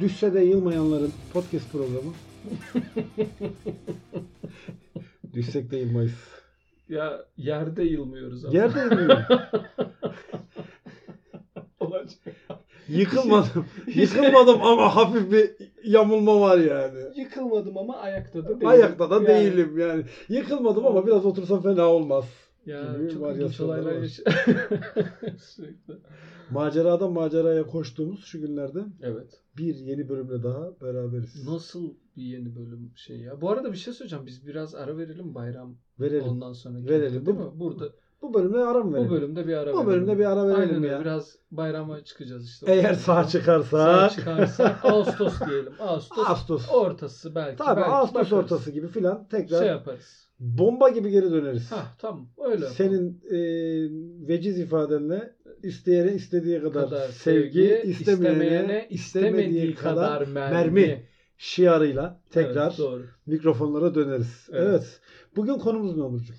Düşse de yılmayanların podcast programı. Düşsek de yılmayız. Ya yerde yılmıyoruz ama. Yerde yılmıyor. Olacak. Yıkılmadım. Yıkılmadım ama hafif bir yamulma var yani. Yıkılmadım ama ayakta da değilim. Ayakta da Yani- değilim yani. Yıkılmadım ama biraz otursam fena olmaz. Ya gibi çok ilginç varyasyonları olaylar var. yaş- Sürekli. Maceradan maceraya koştuğumuz şu günlerde Evet. bir yeni bölümle daha beraberiz. Nasıl bir yeni bölüm şey ya. Bu arada bir şey söyleyeceğim. Biz biraz ara verelim bayram Verelim. ondan sonra. Verelim. Değil Bu- mi? Burada Bu bölümle ara mı verelim? bu bölümde bir ara Bu verelim. bölümde bir ara verelim Aynen öyle. ya. Biraz bayrama çıkacağız işte. Eğer sağ Sağ çıkarsa çıkarsa Ağustos diyelim. Ağustos Ağustos. ortası belki. Tabii belki Ağustos bakarız. ortası gibi filan tekrar Şey yaparız. bomba gibi geri döneriz. Ha tamam öyle. yapalım. Senin e, veciz ifadenle isteyene istediği kadar, sevgi, istemeyene, istemediği kadar mermi. şiarıyla tekrar Evet, doğru. mikrofonlara döneriz. Evet. Evet. Bugün konumuz ne olacak?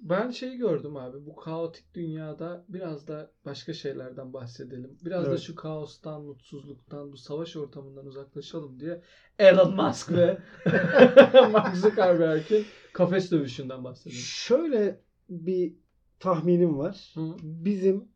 Ben şeyi gördüm abi. Bu kaotik dünyada biraz da başka şeylerden bahsedelim. Biraz da Evet. şu kaostan, mutsuzluktan, bu savaş ortamından uzaklaşalım diye Elon Musk ve Mark Zuckerberg'in kafes dövüşünden bahsedelim. Şöyle bir tahminim var. Hı. Bizim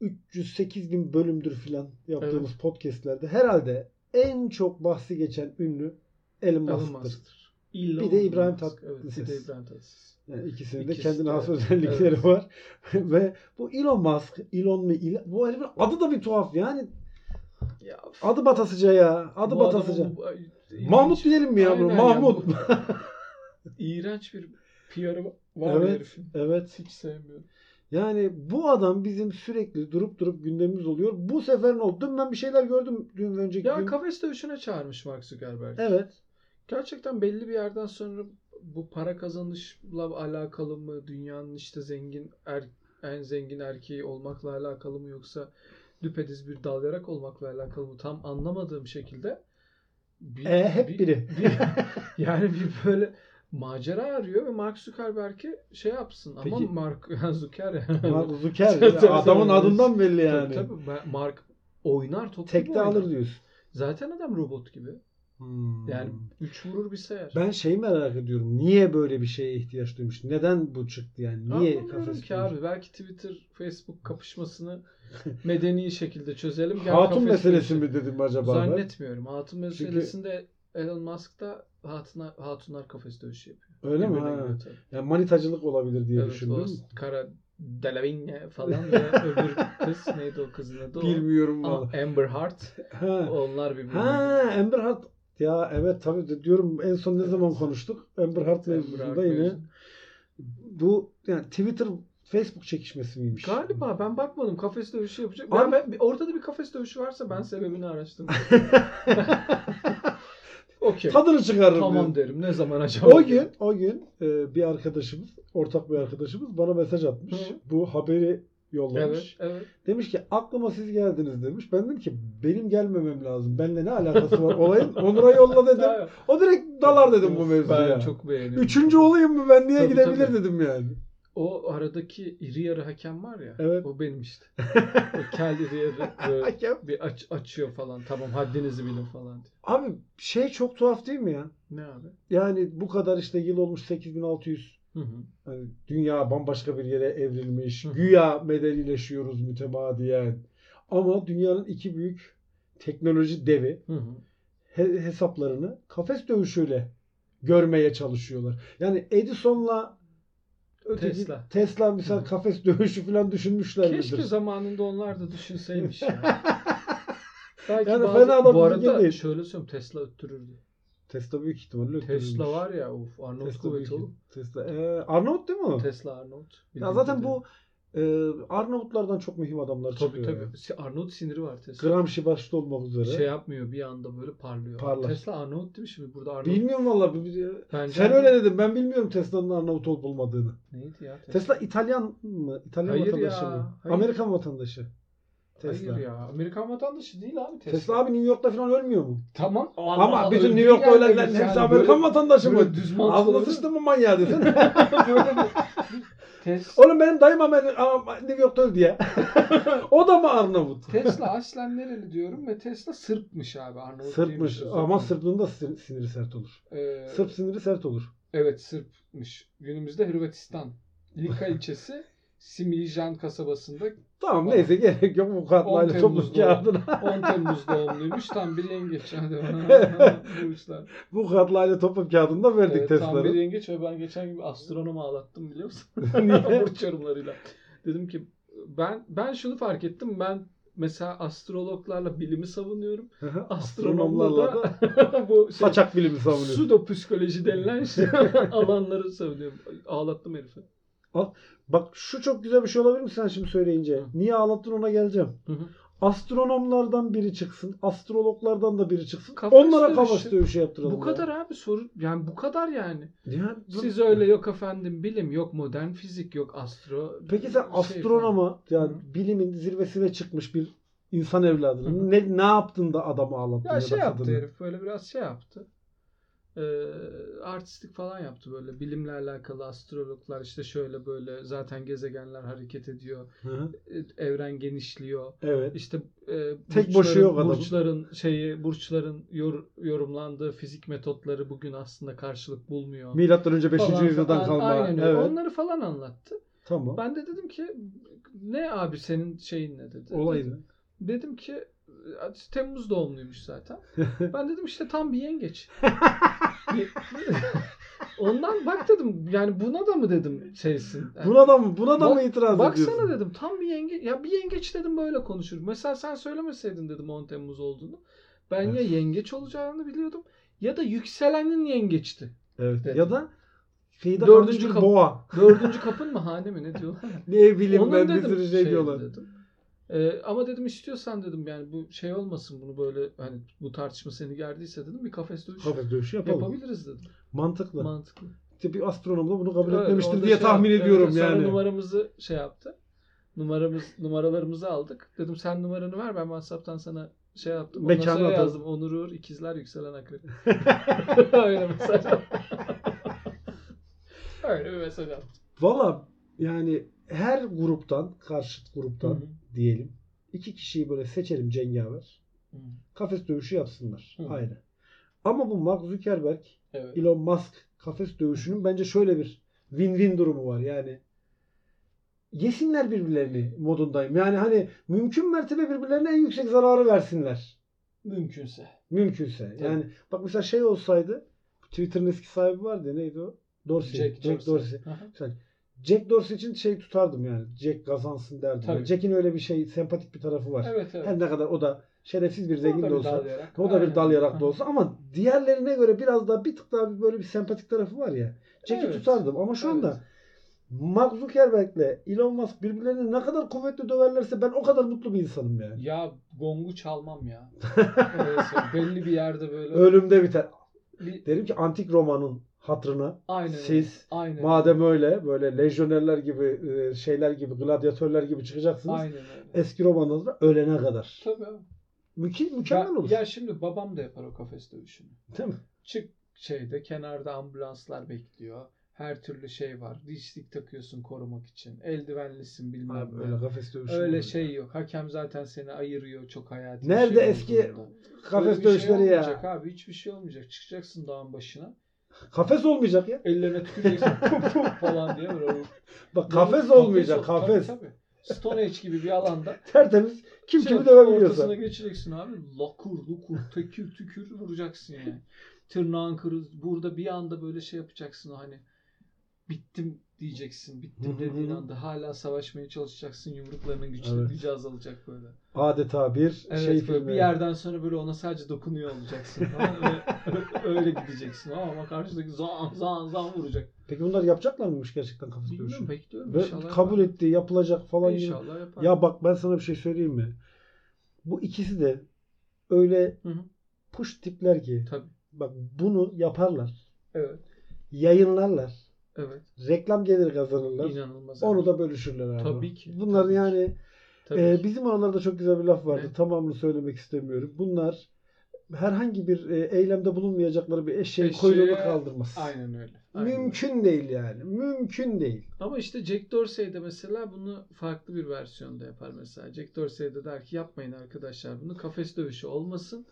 308 bin bölümdür filan yaptığımız podcastlerde herhalde en çok bahsi geçen ünlü Elon Elon Musk'tır. Musk'tır. Elon Bir de İbrahim Musk. Tatlıses. Evet, bir de İbrahim Tatlıses. Yani ikisinin de İkisi kendine has de, özellikleri evet. var. Ve bu Elon Musk, Elon mu? Elon- bu herifin adı da bir tuhaf yani. Ya, Adı batasıca ya. Adı bu adamın batasıca. bu- ay, ilginç. Mahmut diyelim mi ya bunu? Aynen Mahmut. ya, bu- İğrenç bir PR'ı var Evet. herifin. evet. Hiç sevmiyorum. Yani bu adam bizim sürekli durup durup gündemimiz oluyor. Bu sefer ne oldu? Dün ben bir şeyler gördüm dün ve önceki Ya gün. kafes dövüşüne çağırmış Mark Zuckerberg. Evet. Gerçekten belli bir yerden sonra bu para kazanışla alakalı mı? Dünyanın işte zengin er, en zengin erkeği olmakla alakalı mı yoksa düpedüz bir dalyarak olmakla alakalı mı? Tam anlamadığım şekilde bir, E, hep bir- biri. bir- yani bir böyle macera arıyor ve Mark Zuckerberg'i şey yapsın ama Peki- Mark Zucker Mark Zucker. Tabii, tabii, Adamın tabii. adından belli yani. yani. Tabii, tabii. Mark oynar top gibi Tekte oynar. alır diyorsun. Zaten adam robot gibi. Yani üç vurur bir sayar. Ben şeyi merak ediyorum. Niye böyle bir şeye ihtiyaç duymuş? Neden bu çıktı yani? Niye Anlamıyorum kafes ki abi. Belki Twitter, Facebook kapışmasını medeni şekilde çözelim. Gel Hatun kafes meselesi dövüşelim. mi dedim acaba ben? Zannetmiyorum. Hatun Çünkü- meselesinde Elon Musk da hatuna, hatunlar kafes dövüşü yapıyor. Öyle mi? Birbirine Ha. giriyor tabii. Yani manitacılık olabilir diye Evet, düşündüm. o Kara Delevingne falan ve öbür kız neydi o kızın adı? O- Bilmiyorum Ama valla. Amber Heard. Ha. Onlar birbirine ha giriyor. Amber Heard. Ya evet tabii de diyorum en son ne zaman konuştuk? Amber Heard Amber mevzusunda Heard yine. mevzu. Bu yani Twitter Facebook çekişmesi miymiş? Galiba ben bakmadım kafes dövüşü yapacak. Abi- Ben, ben- ortada bir kafes dövüşü varsa ben sebebini araştırırım. Okey. Tadını çıkarırım. Tamam diyorum. derim. Ne zaman acaba? O gün, o gün e, bir arkadaşımız, ortak bir arkadaşımız bana mesaj atmış. Hı. Bu haberi yollamış. Evet, evet. Demiş ki aklıma siz geldiniz demiş. Ben dedim ki benim gelmemem lazım. Benimle ne alakası var olayın? Onur'a yolla dedim. Ben- O direkt dalar dedim bu mevzuya. Ben çok beğeniyorum. Üçüncü olayım mı ben niye Tabii, gidebilir tabii. dedim yani. O aradaki iri yarı hakem var ya. Evet. O benim işte. o kel iri yarı böyle Hakem. bir aç, açıyor falan. Tamam haddinizi bilin falan diye. Abi şey çok tuhaf değil mi ya? Ne abi? Yani bu kadar işte yıl olmuş 8600. Hı hı. Hani dünya bambaşka bir yere evrilmiş. Hı hı. Güya medenileşiyoruz mütemadiyen. Ama dünyanın iki büyük teknoloji devi Hı hı. he- hesaplarını kafes dövüşüyle görmeye çalışıyorlar. Yani Edison'la öteki Tesla, Tesla. misal Hı hı. kafes dövüşü falan düşünmüşler Keşke midir? zamanında onlar da düşünseymiş ya. Belki Yani bazı- fena da bu bilgi arada değil. şöyle söyleyeyim Tesla öttürürdü. Tesla büyük ihtimalle öldürülmüş. Tesla var ya uf Arnold Tesla büyük kuvvet oğlum. Tesla. Ee, Arnavut değil mi? o? Tesla Arnold. Ya Bildiğin zaten gibi. bu e, Arnavutlardan çok mühim adamlar tabii çıkıyor. tabii. ya. Si- Arnold siniri var Tesla. Gramsci başta olmak üzere. şey yapmıyor bir anda böyle parlıyor. Parlar. Tesla Arnavut değil mi şimdi burada Arnavut? Bilmiyorum valla. Bence Sen öyle dedin. Ben bilmiyorum Tesla'nın Arnavut olup olmadığını. Neydi ya? Tesla İtalyan mı? İtalyan Hayır vatandaşı ya, mı? hayır. Amerikan vatandaşı. Tesla. Hayır ya. Amerikan vatandaşı değil abi Tesla. Tesla. abi New York'ta falan ölmüyor mu? Tamam. Ama bütün New York'ta şey. ölenlerin hepsi Amerikan vatandaşı mı? Düz mantıklı. Ağzına sıçtın mı manyağı dedin? Böyle bir- Tes- Oğlum benim dayım Amer- Am- New York'ta öldü ya. o da mı Arnavut? Tesla aslen nereli diyorum ve Tesla Sırpmış abi. Arnavut değilmiş Sırpmış o zaman. ama Sırplığın da sin- siniri sert olur. Ee, Sırp siniri sert olur. Evet Sırpmış. Günümüzde Hırvatistan. Lika ilçesi Simijan kasabasında Tamam Tamam. neyse gerek yok bu 10 kadar aile topluluk Temmuz'da kağıdına. 10 Temmuz doğumluymuş. Tam bir yengeç. Hadi bana. Bulmuşlar. bu kadar aile topluluk kağıdında verdik Evet, tam bir Tesla'nın. yengeç ve ben geçen gibi astronomu ağlattım biliyor musun? Niye? Burç yorumlarıyla. Dedim ki ben ben şunu fark ettim. Ben mesela astrologlarla bilimi savunuyorum. Astronomlarla Astronomlarla da da bu şey, saçak bilimi savunuyor. psüdopsikoloji denilen şey, alanları savunuyorum. Ağlattım herifi. Bak şu çok güzel bir şey olabilir mi sen şimdi söyleyince? Hı. Niye ağlattın ona geleceğim. Hı hı. Astronomlardan biri çıksın. Astrologlardan da biri çıksın. Kafes Onlara dövüşü. kafas dövüşü yaptıralım. Bu ya. kadar abi soru yani bu kadar yani. Ya, bu- Siz öyle yok efendim bilim yok modern fizik yok astro. Peki sen şey falan. astronoma yani Hı. bilimin zirvesine çıkmış bir insan Hı evladını hı. ne ne yaptın da adamı ağlattın? Ya da şey yaptı kadını? herif böyle biraz şey yaptı. Ee, artistik falan yaptı böyle bilimle alakalı astrologlar işte şöyle böyle zaten gezegenler hareket ediyor. Hı hı. e, Evren genişliyor. Evet. İşte e, Tek burçların- başı yok adamın. burçların şeyi burçların yor- yorumlandığı fizik metotları bugün aslında karşılık bulmuyor. Milattan önce 5. Falan yüzyıldan falan. kalma. Aynen öyle. evet. Onları falan anlattı. Tamam. Ben de dedim ki ne abi senin şeyin ne dedi. Olay ne? Dedim, dedim ki Temmuz doğumluymuş zaten. Ben dedim işte tam bir yengeç. Ondan bak dedim yani buna da mı dedim şeysin. Yani Buna da mı buna da Bak- mı itiraz ediyorsun? Baksana dedim tam bir yengeç. Ya bir yengeç dedim böyle konuşur. Mesela sen söylemeseydin dedim 10 Temmuz olduğunu. Ben ya yengeç olacağını biliyordum ya da yükselenin yengeçti. Evet. Evet. Ya da şeyde Dördüncü kalmış bir kapı. boğa. Dördüncü kapın mı hane mi ne diyorlar? Ne bileyim Onun ben bir dedim sürü şey şeyini diyorlar. dedim. Ee, ama dedim istiyorsan dedim yani bu şey olmasın bunu böyle hani bu tartışma seni gerdiyse dedim bir kafes dövüşü Kafes dövüşü yapalım. yapabiliriz dedim. Mantıklı. Mantıklı. İşte bir astronom da bunu kabul Evet, etmemiştir orada diye şey tahmin yaptı. ediyorum Evet, yani. Sonra numaramızı şey yaptı. Numaramız numaralarımızı aldık. Dedim sen numaranı ver ben WhatsApp'tan sana şey yaptım. Ondan Mekanı sonra atalım. yazdım. Onur Uğur ikizler yükselen akrep. Öyle mesaj attım. Öyle bir mesaj attım. Valla yani her gruptan, karşıt gruptan diyelim. iki kişiyi böyle seçelim cengaver. Hı. Kafes dövüşü yapsınlar. Hı. Ayrı. Ama bu Mark Zuckerberg, Evet. Elon Musk kafes dövüşünün bence şöyle bir win-win durumu var. Yani yesinler birbirlerini modundayım. Yani hani mümkün mertebe birbirlerine en yüksek zararı versinler. Mümkünse. Mümkünse. Yani bak mesela şey olsaydı Twitter'ın eski sahibi vardı ya, neydi o? Dorsey. Jack, Dorsey. Aha. Jack Dorsey için şey tutardım yani. Jack kazansın derdim. Tabii. Yani Jack'in öyle bir şey sempatik bir tarafı var. Evet evet. Her ne kadar o da şerefsiz bir zengin O da de bir olsa. dal yarak. O da bir Aynen. dal yarak da Aha. olsa ama diğerlerine göre biraz daha bir tık daha bir böyle bir sempatik tarafı var ya. Jack'i Evet. tutardım ama şu Evet. anda Mark Zuckerberg'le Elon Musk birbirlerini ne kadar kuvvetli döverlerse ben o kadar mutlu bir insanım yani. Ya gongu çalmam ya. Öyleyse belli bir yerde böyle. Ölümde biter. Bir- Derim ki antik romanın hatırına Aynen. öyle. siz Aynen. madem öyle böyle lejyonerler gibi e, şeyler gibi gladyatörler gibi çıkacaksınız. Aynen öyle. Eski romanınızda ölene kadar. Tabii. abi. Müke- mükemmel Ya, olur. ya şimdi babam da yapar o kafes dövüşünü. Değil mi? Çık şeyde kenarda ambulanslar bekliyor. Her türlü şey var. Dişlik takıyorsun korumak için. Eldivenlisin bilmem Abi, ne. öyle Öyle, kafes dövüşü. olur ya. şey yok. Hakem zaten seni ayırıyor çok hayati. bir Nerede şey eski olduğunda. Böyle kafes bir şey dövüşleri ya? olmayacak Abi hiçbir şey olmayacak. Çıkacaksın dağın başına. Kafes olmayacak ya. Ellerine tüküreceksin pum pum falan diye böyle. Bak kafes olmayacak ol- kafes. Tabii, tabii. Stone Age gibi bir alanda Tertemiz. Kim Şey, kimi dövebiliyorsa. Ortasına geçeceksin abi. Lakur lukur tekür tükür vuracaksın yani. Tırnağın kırıl. Burada bir anda böyle şey yapacaksın hani. Bittim diyeceksin. Hı Bittim hı dediğin hı. anda hala savaşmaya çalışacaksın. Yumruklarının gücü, Evet. gücü azalacak böyle. Adeta bir Evet şey böyle filmi. bir yerden sonra böyle ona sadece dokunuyor olacaksın. falan. Öyle- öyle gideceksin ama karşıdaki zan zan zan vuracak. Peki bunlar yapacaklar mıymış gerçekten kafes Bilmiyorum dövüşü? bekliyorum. Ve İnşallah kabul yapar. etti yapılacak falan gibi. İnşallah yapar. Ya bak ben sana bir şey söyleyeyim mi? Bu ikisi de öyle Hı hı. push tipler ki. Tabii. Bak bunu yaparlar. Evet. Yayınlarlar. Evet. Reklam gelir kazanırlar. İnanılmaz. Onu da bölüşürler abi. Tabii ki, Bunlar tabii ki. yani Tabii e, ki. bizim oralarda çok güzel bir laf vardı. Ne? Tamamını söylemek istemiyorum. Bunlar herhangi bir e, eylemde bulunmayacakları bir eşeğin Eşeğe- kuyruğunu kaldırmaz. Aynen öyle. Aynen. Mümkün değil yani. Mümkün değil. Ama işte Jack Dorsey de mesela bunu farklı bir versiyonda yapar mesela. Jack Dorsey de der ki yapmayın arkadaşlar bunu kafes dövüşü olmasın.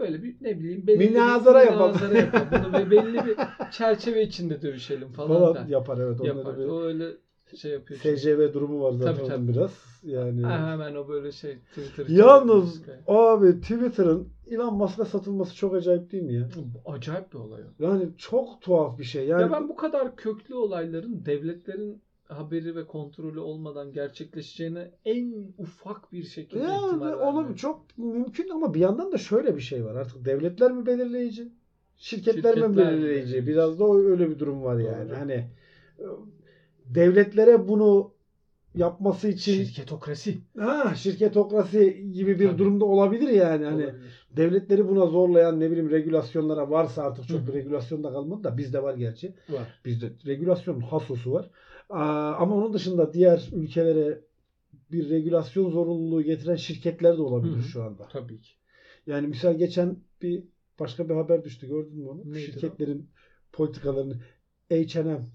Böyle bir ne bileyim belli Münazara bir yapalım. münazara yapalım. Bunu ve belli bir çerçeve içinde dövüşelim falan, Falan der. yapar evet. Yapar. Onlarda bir O öyle şey yapıyor. çünkü. SCV durumu var zaten Tabii, tabii. onun biraz. Yani Ha, hemen o böyle şey Twitter. Yalnız abi Twitter'ın Elon Musk'a satılması çok acayip değil mi ya? acayip bir olay o. Yani çok tuhaf bir şey. Yani Ya ben bu kadar köklü olayların devletlerin haberi ve kontrolü olmadan gerçekleşeceğine en ufak bir şekilde Ya ihtimal ve vermiyorum. oğlum çok mümkün ama bir yandan da şöyle bir şey var. Artık devletler mi belirleyici? Şirketler, mi Şirketler mi belirleyici? belirleyici? Biraz da o- öyle bir durum var yani. Doğru. Hani e, devletlere bunu yapması için Şirketokrasi. ha şirketokrasi gibi bir Tabii. durumda olabilir yani. Hani olabilir. devletleri buna zorlayan ne bileyim regülasyonlara varsa artık çok Hı. bir regülasyon da kalmadı da bizde var gerçi. Var. Bizde regülasyonun hasosu var. Aa, ama onun dışında diğer ülkelere bir regülasyon zorunluluğu getiren şirketler de olabilir Hı hı. şu anda. Tabii ki. Yani misal geçen bir başka bir haber düştü gördün mü onu? Neydi Şirketlerin politikalarını H&M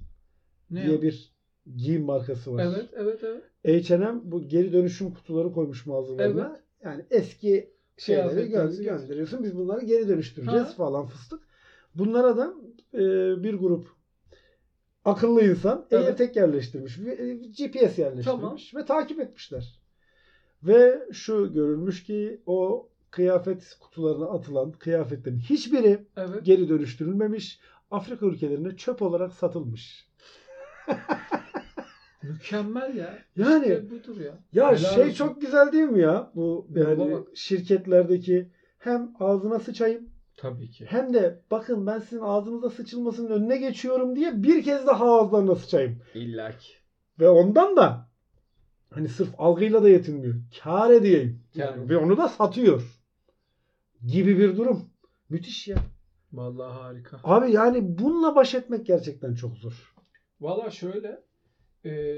Ne diye ya? bir giyim markası var. Evet, evet, evet. H&M bu geri dönüşüm kutuları koymuş mağazalarına. Yani eski Şey şeyleri gö- Kıyafetlerimizi getir- gönderiyorsun. Biz bunları geri dönüştüreceğiz Ha. falan fıstık. Bunlara da e, bir grup akıllı insan E Evet. AirTag yerleştirmiş. ve, e, GPS yerleştirmiş ve takip etmişler. Ve şu görülmüş ki o kıyafet kutularına atılan kıyafetlerin hiçbiri Evet. geri dönüştürülmemiş. Afrika ülkelerine çöp olarak satılmış. Mükemmel ya. Yani İşte budur ya. Ya Helal şey olsun. çok güzel değil mi ya? Bu Gruba yani bak. şirketlerdeki hem ağzına sıçayım Tabii ki. hem de bakın ben sizin ağzınıza sıçılmasının önüne geçiyorum diye bir kez daha ağızlarına sıçayım. İlla ki. Ve ondan da hani sırf algıyla da yetinmiyor. Kâr edeyim. Kâr Yani. Ve onu da satıyor. Gibi bir durum. Müthiş ya. Vallahi harika. Abi yani bununla baş etmek gerçekten çok zor. Valla şöyle e,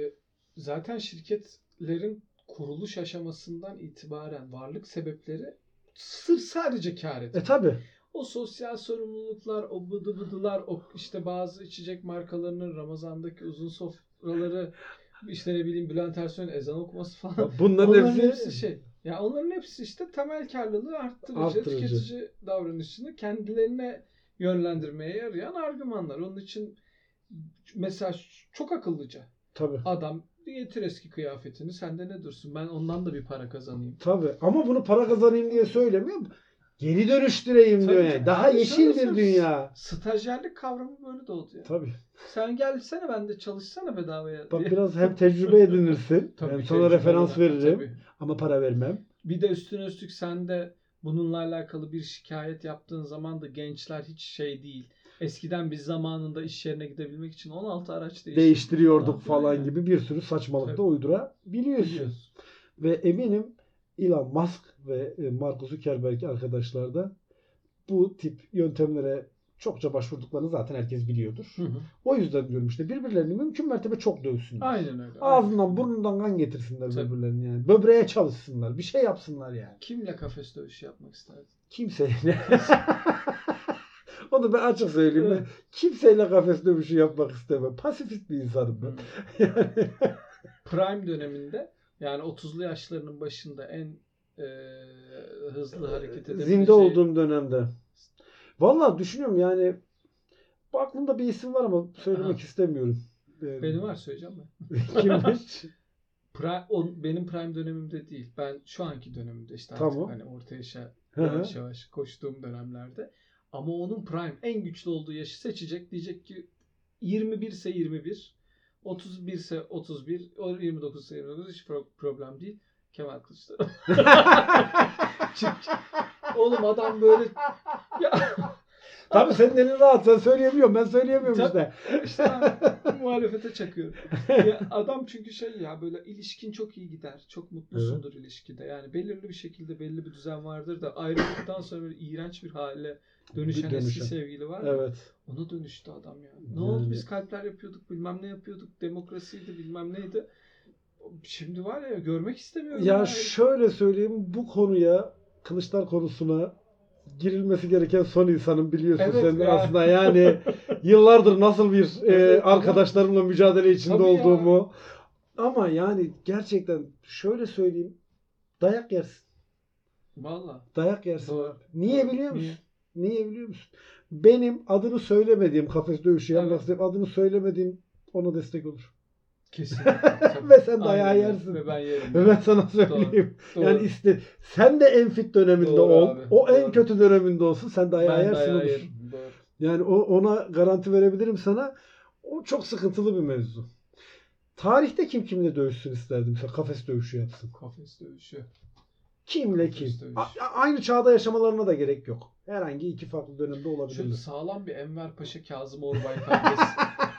zaten şirketlerin kuruluş aşamasından itibaren varlık sebepleri sır sadece kar E etmek. tabi. O sosyal sorumluluklar, o bıdı bıdılar, o işte bazı içecek markalarının Ramazan'daki uzun sofraları, işte ne bileyim Bülent Ersoy'un ezan okuması falan. Bunların, Onların hepsi, hepsi şey. Ya onların hepsi işte temel karlılığı arttırıcı, Arttırıcı. tüketici davranışını kendilerine yönlendirmeye yarayan argümanlar. Onun için mesela çok akıllıca. tabi. Adam getir eski kıyafetini sende ne dursun ben ondan da bir para kazanayım. Tabii ama bunu para kazanayım diye söylemiyor. Geri dönüştüreyim Tabii diyor canım. yani. Daha Tabii yeşil canım. bir dünya. Stajyerlik kavramı böyle doğdu ya. Tabii. Sen gelsene ben de çalışsana bedavaya. Bak diye. biraz hem tecrübe edinirsin. Tabii ben ki sana referans tecrübe var. veririm Tabii. ama para vermem. Bir de üstüne üstlük sen de bununla alakalı bir şikayet yaptığın zaman da gençler hiç şey değil. Eskiden biz zamanında iş yerine gidebilmek için 16 araç değiştirdik. Değiştiriyorduk falan falan yani. gibi bir sürü saçmalık da Tabii. uydurabiliyorsun. Biliyorsun. Ve eminim Elon Musk ve e, Mark Zuckerberg arkadaşlar da bu tip yöntemlere çokça başvurduklarını zaten herkes biliyordur. Hı hı. O yüzden diyorum işte birbirlerini mümkün mertebe çok dövsünler. Aynen öyle. Ağzından Aynen. burnundan kan getirsinler Tabii. birbirlerine yani. Böbreğe çalışsınlar. Bir şey yapsınlar yani. Kimle kafes dövüşü yapmak isterdin? Kimseyle. Onu ben açık söyleyeyim. Ben kimseyle kafes dövüşü yapmak istemem. Pasifist bir insanım ben. Hı. Prime döneminde yani 30'lu yaşlarının başında en e, hızlı hareket Yani, edebileceği E, zinde olduğum dönemde. Vallahi düşünüyorum yani aklımda bir isim var ama söylemek Aha. istemiyorum. Ee, benim var söyleyeceğim ben. Kimmiş? Prime, o, benim prime dönemimde değil. Ben şu anki dönemimde işte artık Tamam. hani orta yaşa Hı hı. yavaş yavaş koştuğum dönemlerde. Ama onun prime en güçlü olduğu yaşı seçecek. Diyecek ki 21 ise 21, 31 ise 31, o 29 ise 29 hiç pro- problem değil. Kemal Kılıçdaroğlu. Oğlum adam böyle ya, Tabii senin elin rahat. Sen söyleyemiyorum. Ben söyleyemiyorum Tabii. işte. işte abi, muhalefete çakıyor. Ya, adam çünkü şey ya böyle ilişkin çok iyi gider. Çok mutlusundur ilişkide. Yani belirli bir şekilde belli bir düzen vardır da ayrıldıktan sonra böyle iğrenç bir hale dönüşen, Dönüşen. eski sevgili var. ya. Evet. Ona dönüştü adam ya. Ne Yani- oldu biz kalpler yapıyorduk bilmem ne yapıyorduk demokrasiydi bilmem neydi. Şimdi var ya görmek istemiyorum. Ya yani. şöyle söyleyeyim bu konuya Kılıçlar konusuna girilmesi gereken son insanım biliyorsun Evet sen de ya. aslında yani yıllardır nasıl bir e, Evet, arkadaşlarımla mücadele içinde Tabii ya. olduğumu. Ama yani gerçekten şöyle söyleyeyim dayak yersin. Valla. Dayak yersin. Doğru. Niye Doğru. biliyor musun? Niye? Niye biliyor musun? Benim adını söylemediğim kafes dövüşü Evet. yapmak isteyip adını söylemediğim ona destek olur. Kesinlikle. Ve sen dayağı Aynen öyle. yersin. Ve ben yerim. Evet sana söyleyeyim. Doğru. Yani iste sen de en fit döneminde Doğru ol. abi, O en doğru. kötü döneminde olsun. Sen ben dayağı yersin dayağı olur. yerim. Doğru. Yani o, ona garanti verebilirim sana. O çok sıkıntılı bir mevzu. Tarihte kim kimle dövüşsün isterdim. Mesela kafes dövüşü yapsın. Kafes dövüşü. Kimle kim. Kafes dövüşü. A- a- aynı çağda yaşamalarına da gerek yok. Herhangi iki farklı dönemde Şöyle olabilirler. sağlam bir Enver Paşa Kazım Orbay kavgası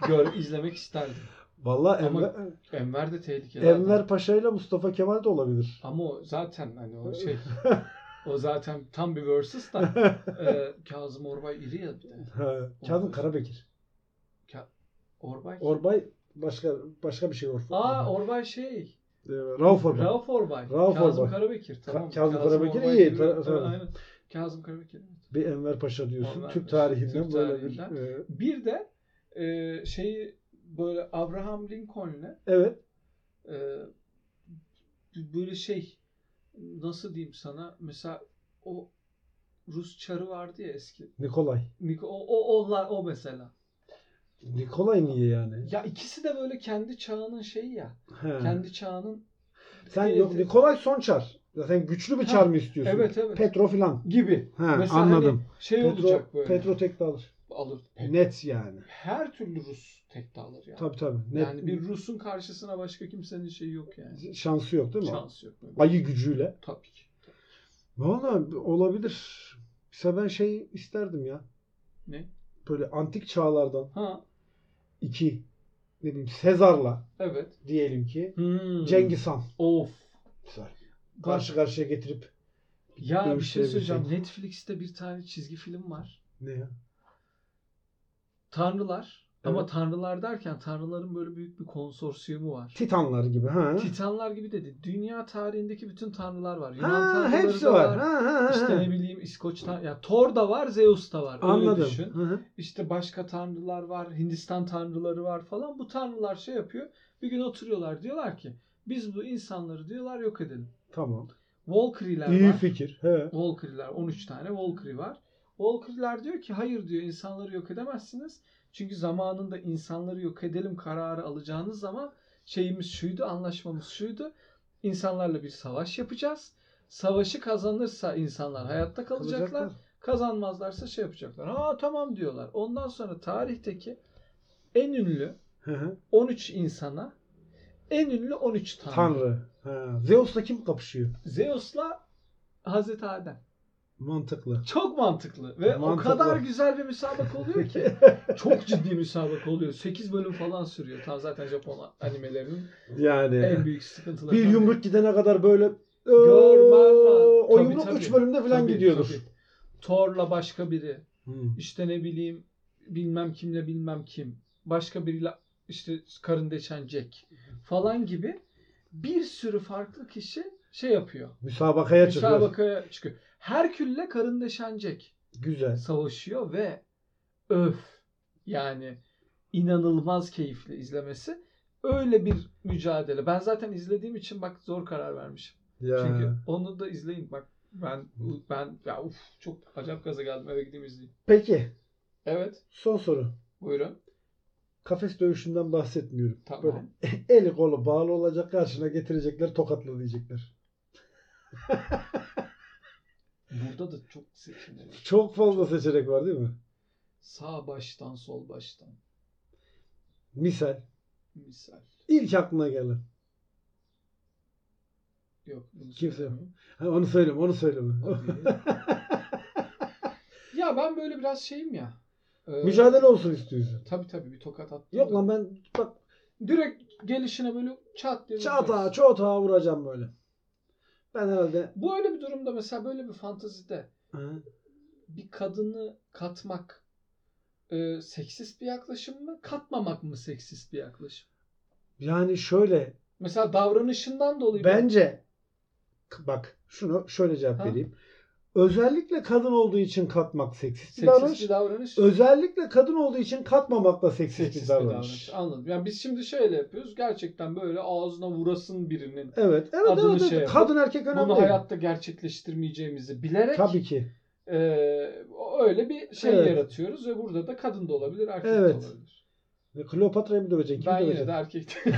gör, izlemek isterdim. Valla Ama- Enver, Enver de tehlikeli. adam. Enver Paşa ile Mustafa Kemal de olabilir. Ama o zaten hani o şey o zaten tam bir versus da e, Kazım Orbay iri ya bir de. Ha, Kazım Karabekir. Orbay. Orbay başka başka bir şey Orf. Aa Orbay şey. Ee, Rauf Orbay. Rauf Orbay. Rauf Kazım Orbay. Karabekir. Tamam. Ka- Kazım Karabekir iyi, gibi. ta- Evet, tamam. aynen. Kazım Karabekir. Bir Enver Paşa diyorsun. Enver Türk Paşa, tarihinden Türk böyle tarihinden. bir. e, Bir de e, şeyi böyle Abraham Lincoln'le evet. e, böyle şey nasıl diyeyim sana mesela o Rus çarı vardı ya eski. Nikolay. Niko- O, o, onlar o mesela. Nikolay niye yani? Ya ikisi de böyle kendi çağının şeyi ya. He. Kendi çağının Sen yok Nikolay son çar. Zaten güçlü bir Ha, çar mı istiyorsun? Evet evet. Petro filan. gibi. Ha, Mesela anladım. hani şey Petro, olacak böyle. Petro tek de alır. alır. Net yani. Her türlü Rus tekte alır yani. Tabii tabii. Net. Yani bir Rus'un karşısına başka kimsenin şeyi yok yani. Şansı yok değil mi? Şansı yok. Böyle. Ayı gücüyle. Tabii ki. Valla olabilir. Mesela ben şey isterdim ya. Ne? Böyle antik çağlardan Ha iki ne bileyim Sezar'la evet. diyelim ki Hmm. Cengiz Han. Of. Güzel. Karşı karşıya getirip Ya bir şey Dövüşebilecek. söyleyeceğim. Netflix'te bir tane çizgi film var. ne ya? Tanrılar. Ama Evet. tanrılar derken tanrıların böyle büyük bir konsorsiyumu var. Titanlar gibi ha. Titanlar gibi dedi. Dünya tarihindeki bütün tanrılar var. Yunan ha tanrıları hepsi da var. Ha, ha, ha, İşte ha. ne bileyim İskoç tan- ya Thor da var, Zeus da var. Öyle Anladım. düşün. Hı hı. İşte başka tanrılar var, Hindistan tanrıları var falan. Bu tanrılar şey yapıyor. Bir gün oturuyorlar diyorlar ki biz bu insanları diyorlar yok edelim. Tamam. Valkyriler İyi var. fikir. He. Valkyriler 13 tane Valkyrie var. Valkyriler diyor ki hayır diyor insanları yok edemezsiniz. Çünkü zamanında insanları yok edelim kararı alacağınız zaman şeyimiz şuydu, anlaşmamız şuydu. İnsanlarla bir savaş yapacağız. Savaşı kazanırsa insanlar hayatta kalacaklar. Kazanmazlarsa şey yapacaklar. Ha tamam diyorlar. Ondan sonra tarihteki en ünlü Hı hı. 13 insana en ünlü 13 tanrı. Tanrı. Ha. Zeus'la kim kapışıyor? Zeus'la Hazreti Adem. Mantıklı. Çok mantıklı ve Mantıklı. o kadar güzel bir müsabaka oluyor ki. Çok ciddi müsabaka oluyor. 8 bölüm falan sürüyor. Tam zaten Japon animelerinin en yani büyük sıkıntıları. bir yumruk gidene kadar böyle Görmen "Oo, lazım." O Tabii, yumruk tabii. 3 bölümde falan Tabii, gidiyordur. tabii. Thor'la başka biri. Hmm. İşte ne bileyim bilmem kimle bilmem kim. Başka biriyle işte karın deşen Jack falan gibi bir sürü farklı kişi şey yapıyor. Müsabakaya çıkıyor. Müsabakaya çıkıyor. Herkül'le karın deşen Jack Güzel. savaşıyor ve öf yani inanılmaz keyifli izlemesi. Öyle bir mücadele. Ben zaten izlediğim için bak zor karar vermişim. Ya. Çünkü onu da izleyin bak. Ben ben ya uf çok acayip gaza geldim. Eve gideyim izleyeyim. Peki Evet. son soru. Buyurun. Ee, e, özellikle kadın olduğu için katmak seksist bir Seksist davranış. bir davranış. Özellikle kadın olduğu için katmamakla seksist bir Seksist bir davranış. davranış. Anladım. Yani biz şimdi şöyle yapıyoruz. Gerçekten böyle ağzına vurasın birinin. Evet, evet, Adını evet. şey evet. yapıp, kadın erkek önemli Bunu değil. hayatta gerçekleştirmeyeceğimizi bilerek Tabii ki. e, öyle bir şey Evet. yaratıyoruz ve burada da kadın da olabilir, erkek Evet. de olabilir. Kleopatra'yı mı döveceksin? Kimi ben yine döveceksin? de erkek de-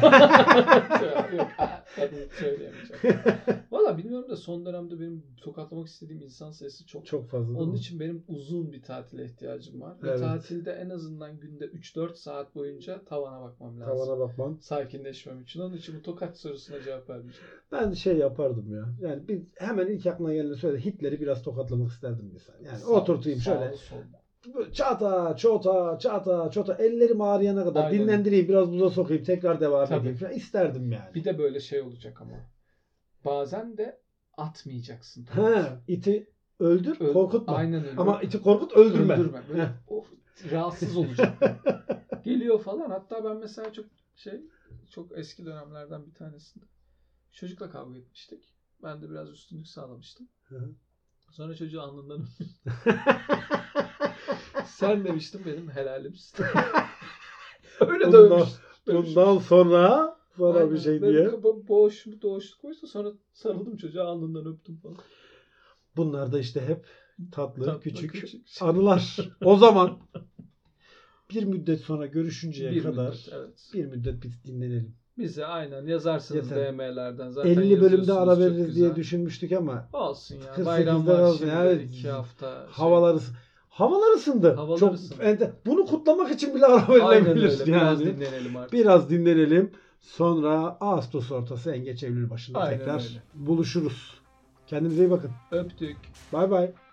Yok, kadın söyleyemeyeceğim. Valla bilmiyorum da son dönemde benim tokatlamak istediğim insan sayısı çok. Çok fazla. Onun Onun için benim uzun bir tatile ihtiyacım var. Ve Evet. tatilde en azından günde 3-4 saat boyunca tavana bakmam lazım. Tavana bakman. Sakinleşmem için. Onun için bu tokat sorusuna cevap vermeyeceğim. Ben şey yapardım ya. Yani bir, hemen ilk aklına geleni söyle. Hitler'i biraz tokatlamak isterdim insan. Yani Sağ- oturtayım sağlı şöyle. sollu. Çata, çota, çata, çota. Ellerim ağrıyana kadar Aynen. dinlendireyim. Biraz buza sokayım. Tekrar devam Tabii. edeyim. Falan. İsterdim yani. Bir de böyle şey olacak ama. Bazen de atmayacaksın. Ha, iti öldür, Öl- korkutma. Aynen öyle. Ama iti korkut öldürme. Böyle, Heh. of, rahatsız olacak. Geliyor falan. Hatta ben mesela çok şey çok eski dönemlerden bir tanesinde çocukla kavga etmiştik. Ben de biraz üstünlük sağlamıştım. Hı hı. Sonra çocuğu alnından öptüm. Sen demiştin benim helalimsin. Öyle Bundan- dövmüş. dövmüş. Bundan sonra sana şey. Aynen. bir şey Böyle diye. kaba- Boğuş, boğuşluk koysa sonra sarıldım çocuğa alnından öptüm falan. Bunlar da işte hep tatlı, Tatlı, küçük, küçük. anılar. O zaman bir müddet sonra görüşünceye Bir kadar müddet, evet. bir müddet biz dinlenelim. Bize aynen yazarsınız Yeter. DM'lerden. Zaten 50 bölümde yazıyorsunuz, ara çok veririz diye güzel. düşünmüştük ama Olsun ya. 48'de Bayram var lazım. şimdi. Evet. iki hafta. şey. havalar ısı- havalar ısındı. Havalar Çok ısındı. ente- bunu kutlamak için bile ara Aynen öyle. verilebilir Biraz yani. dinlenelim artık. Biraz dinlenelim. Sonra Ağustos ortası en geç Eylül başında Aynen tekrar öyle. buluşuruz. Kendinize iyi bakın. Öptük. Bay bay.